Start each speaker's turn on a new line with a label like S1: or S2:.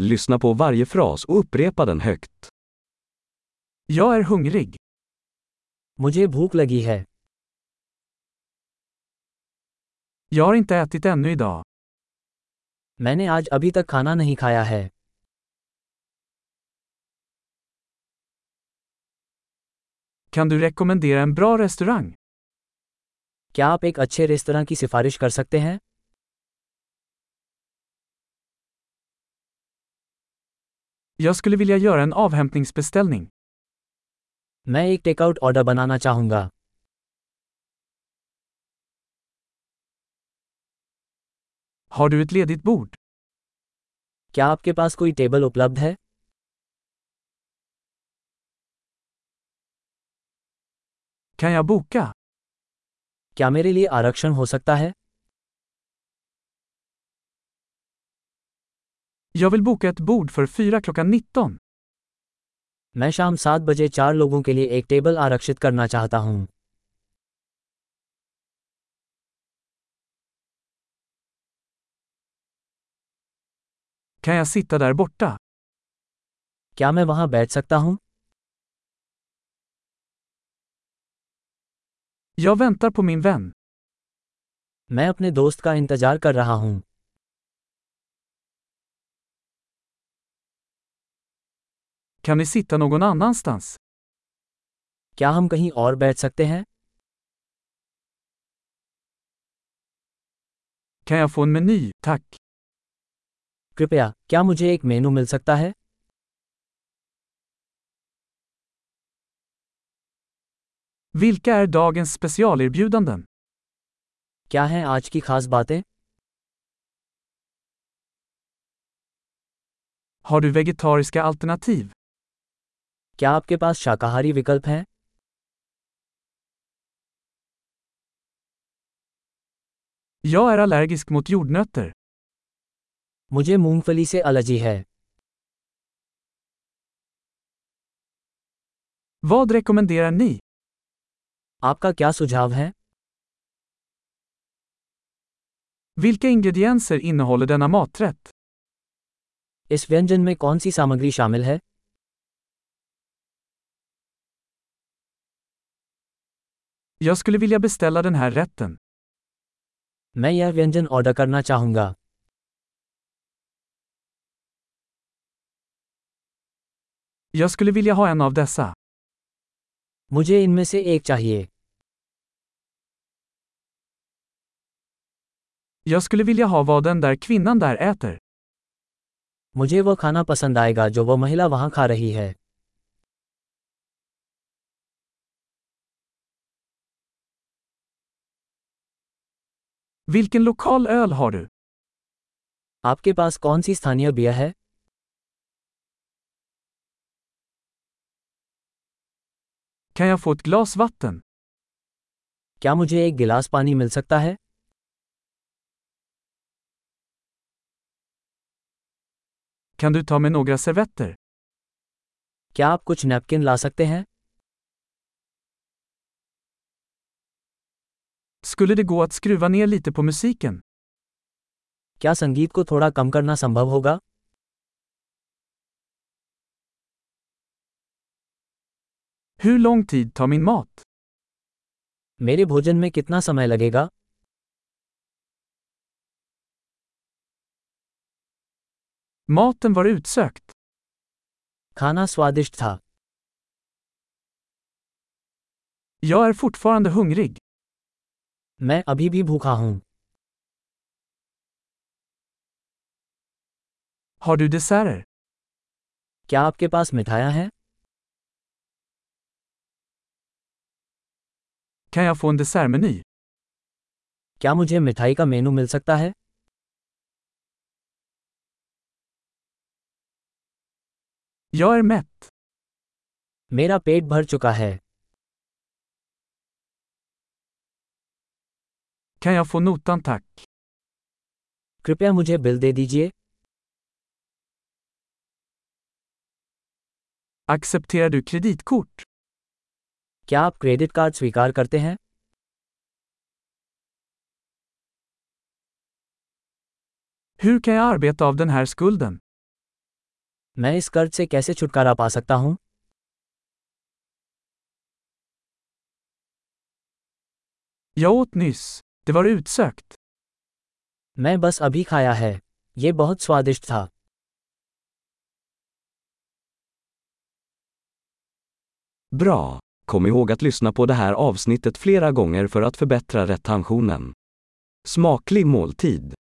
S1: Lyssna på varje fras och upprepa den högt. Jag är hungrig.
S2: मुझे भूख लगी है
S1: Jag har inte ätit ännu idag.
S2: मैंने आज अभी तक खाना नहीं खाया है
S1: Kan du rekommendera en bra restaurang?
S2: क्या आप एक अच्छे रेस्तरा की सिफारिश कर सकते हैं
S1: Jag skulle vilja göra en avhämtningsbeställning.
S2: मैं एक टेकआउट ऑर्डर बनाना चाहूँगा
S1: Har du ett ledigt bord?
S2: क्या आपके पास कोई टेबल उपलब्ध है
S1: Kan jag boka?
S2: क्या मेरे लिए आरक्षण हो सकता है
S1: Jag vill boka ett bord för fyra klockan 19.
S2: मैं शाम सात बजे चार लोगों के लिए एक टेबल आरक्षित करना चाहता हूँ
S1: Kan jag sitta där borta?
S2: क्या मैं वहाँ बैठ सकता हूँ
S1: Jag väntar på min vän.
S2: मैं अपने दोस्त का इंतजार कर रहा हूँ
S1: Kan ni sitta någon annanstans?
S2: क्या हम कहीं और बैठ सकते हैं
S1: Kan jag få en meny, tack?
S2: कृपया क्या मुझे एक मेनू मिल सकता है
S1: Vilka är dagens specialerbjudanden?
S2: क्या हैं आज की खास बातें
S1: Har du vegetariska alternativ?
S2: क्या आपके पास शाकाहारी विकल्प हैं
S1: Jag är allergisk mot jordnötter.
S2: मुझे मूंगफली से एलर्जी है
S1: Vad rekommenderar ni?
S2: आपका क्या सुझाव है
S1: Vilka ingredienser innehåller denna maträtt?
S2: इस व्यंजन में कौन सी सामग्री शामिल है
S1: Jag skulle vilja beställa den här rätten.
S2: मैं यह व्यंजन ऑर्डर करना चाहूँगा
S1: Jag skulle vilja ha en av dessa.
S2: मुझे इनमें से एक चाहिए
S1: Jag skulle vilja ha vad den där kvinnan där äter.
S2: मुझे वह खाना पसंद आएगा जो वह महिला वहाँ खा रही है
S1: Vilken lokal öl har du?
S2: आपके पास कौन सी स्थानीय बियर है
S1: Kan jag få ett glas vatten?
S2: क्या मुझे एक गिलास पानी मिल सकता है
S1: Kan du ta med några servetter?
S2: क्या आप कुछ नैपकिन ला सकते हैं
S1: Skulle det gå att skruva ner lite på musiken?
S2: क्या संगीत को थोड़ा कम करना संभव होगा
S1: Hur lång tid tar min mat?
S2: मेरे भोजन में कितना समय लगेगा
S1: Maten var utsökt.
S2: खाना स्वादिष्ट था
S1: Jag är fortfarande hungrig.
S2: मैं अभी भी भूखा हूँ
S1: Har du desserter?
S2: क्या आपके पास मिठाइयाँ हैं
S1: Kan jag få en dessertmeny?
S2: क्या मुझे मिठाई का मेनू मिल सकता है
S1: Jag är mätt.
S2: मेरा पेट भर चुका है
S1: Kan jag få notan tack?
S2: कृपया मुझे बिल दे दीजिए
S1: Accepterar du kreditkort?
S2: क्या आप क्रेडिट कार्ड स्वीकार करते हैं
S1: Hur kan jag arbeta av den här skulden?
S2: मैं इस कर्ज से कैसे छुटकारा पा सकता हूँ
S1: Jag åt nyss. Det var utsökt.
S2: मैं बस अभी खाया है ये बहुत स्वादिष्ट था
S1: Bra! Kom ihåg att lyssna på det här avsnittet flera gånger för att förbättra retentionen. Smaklig måltid!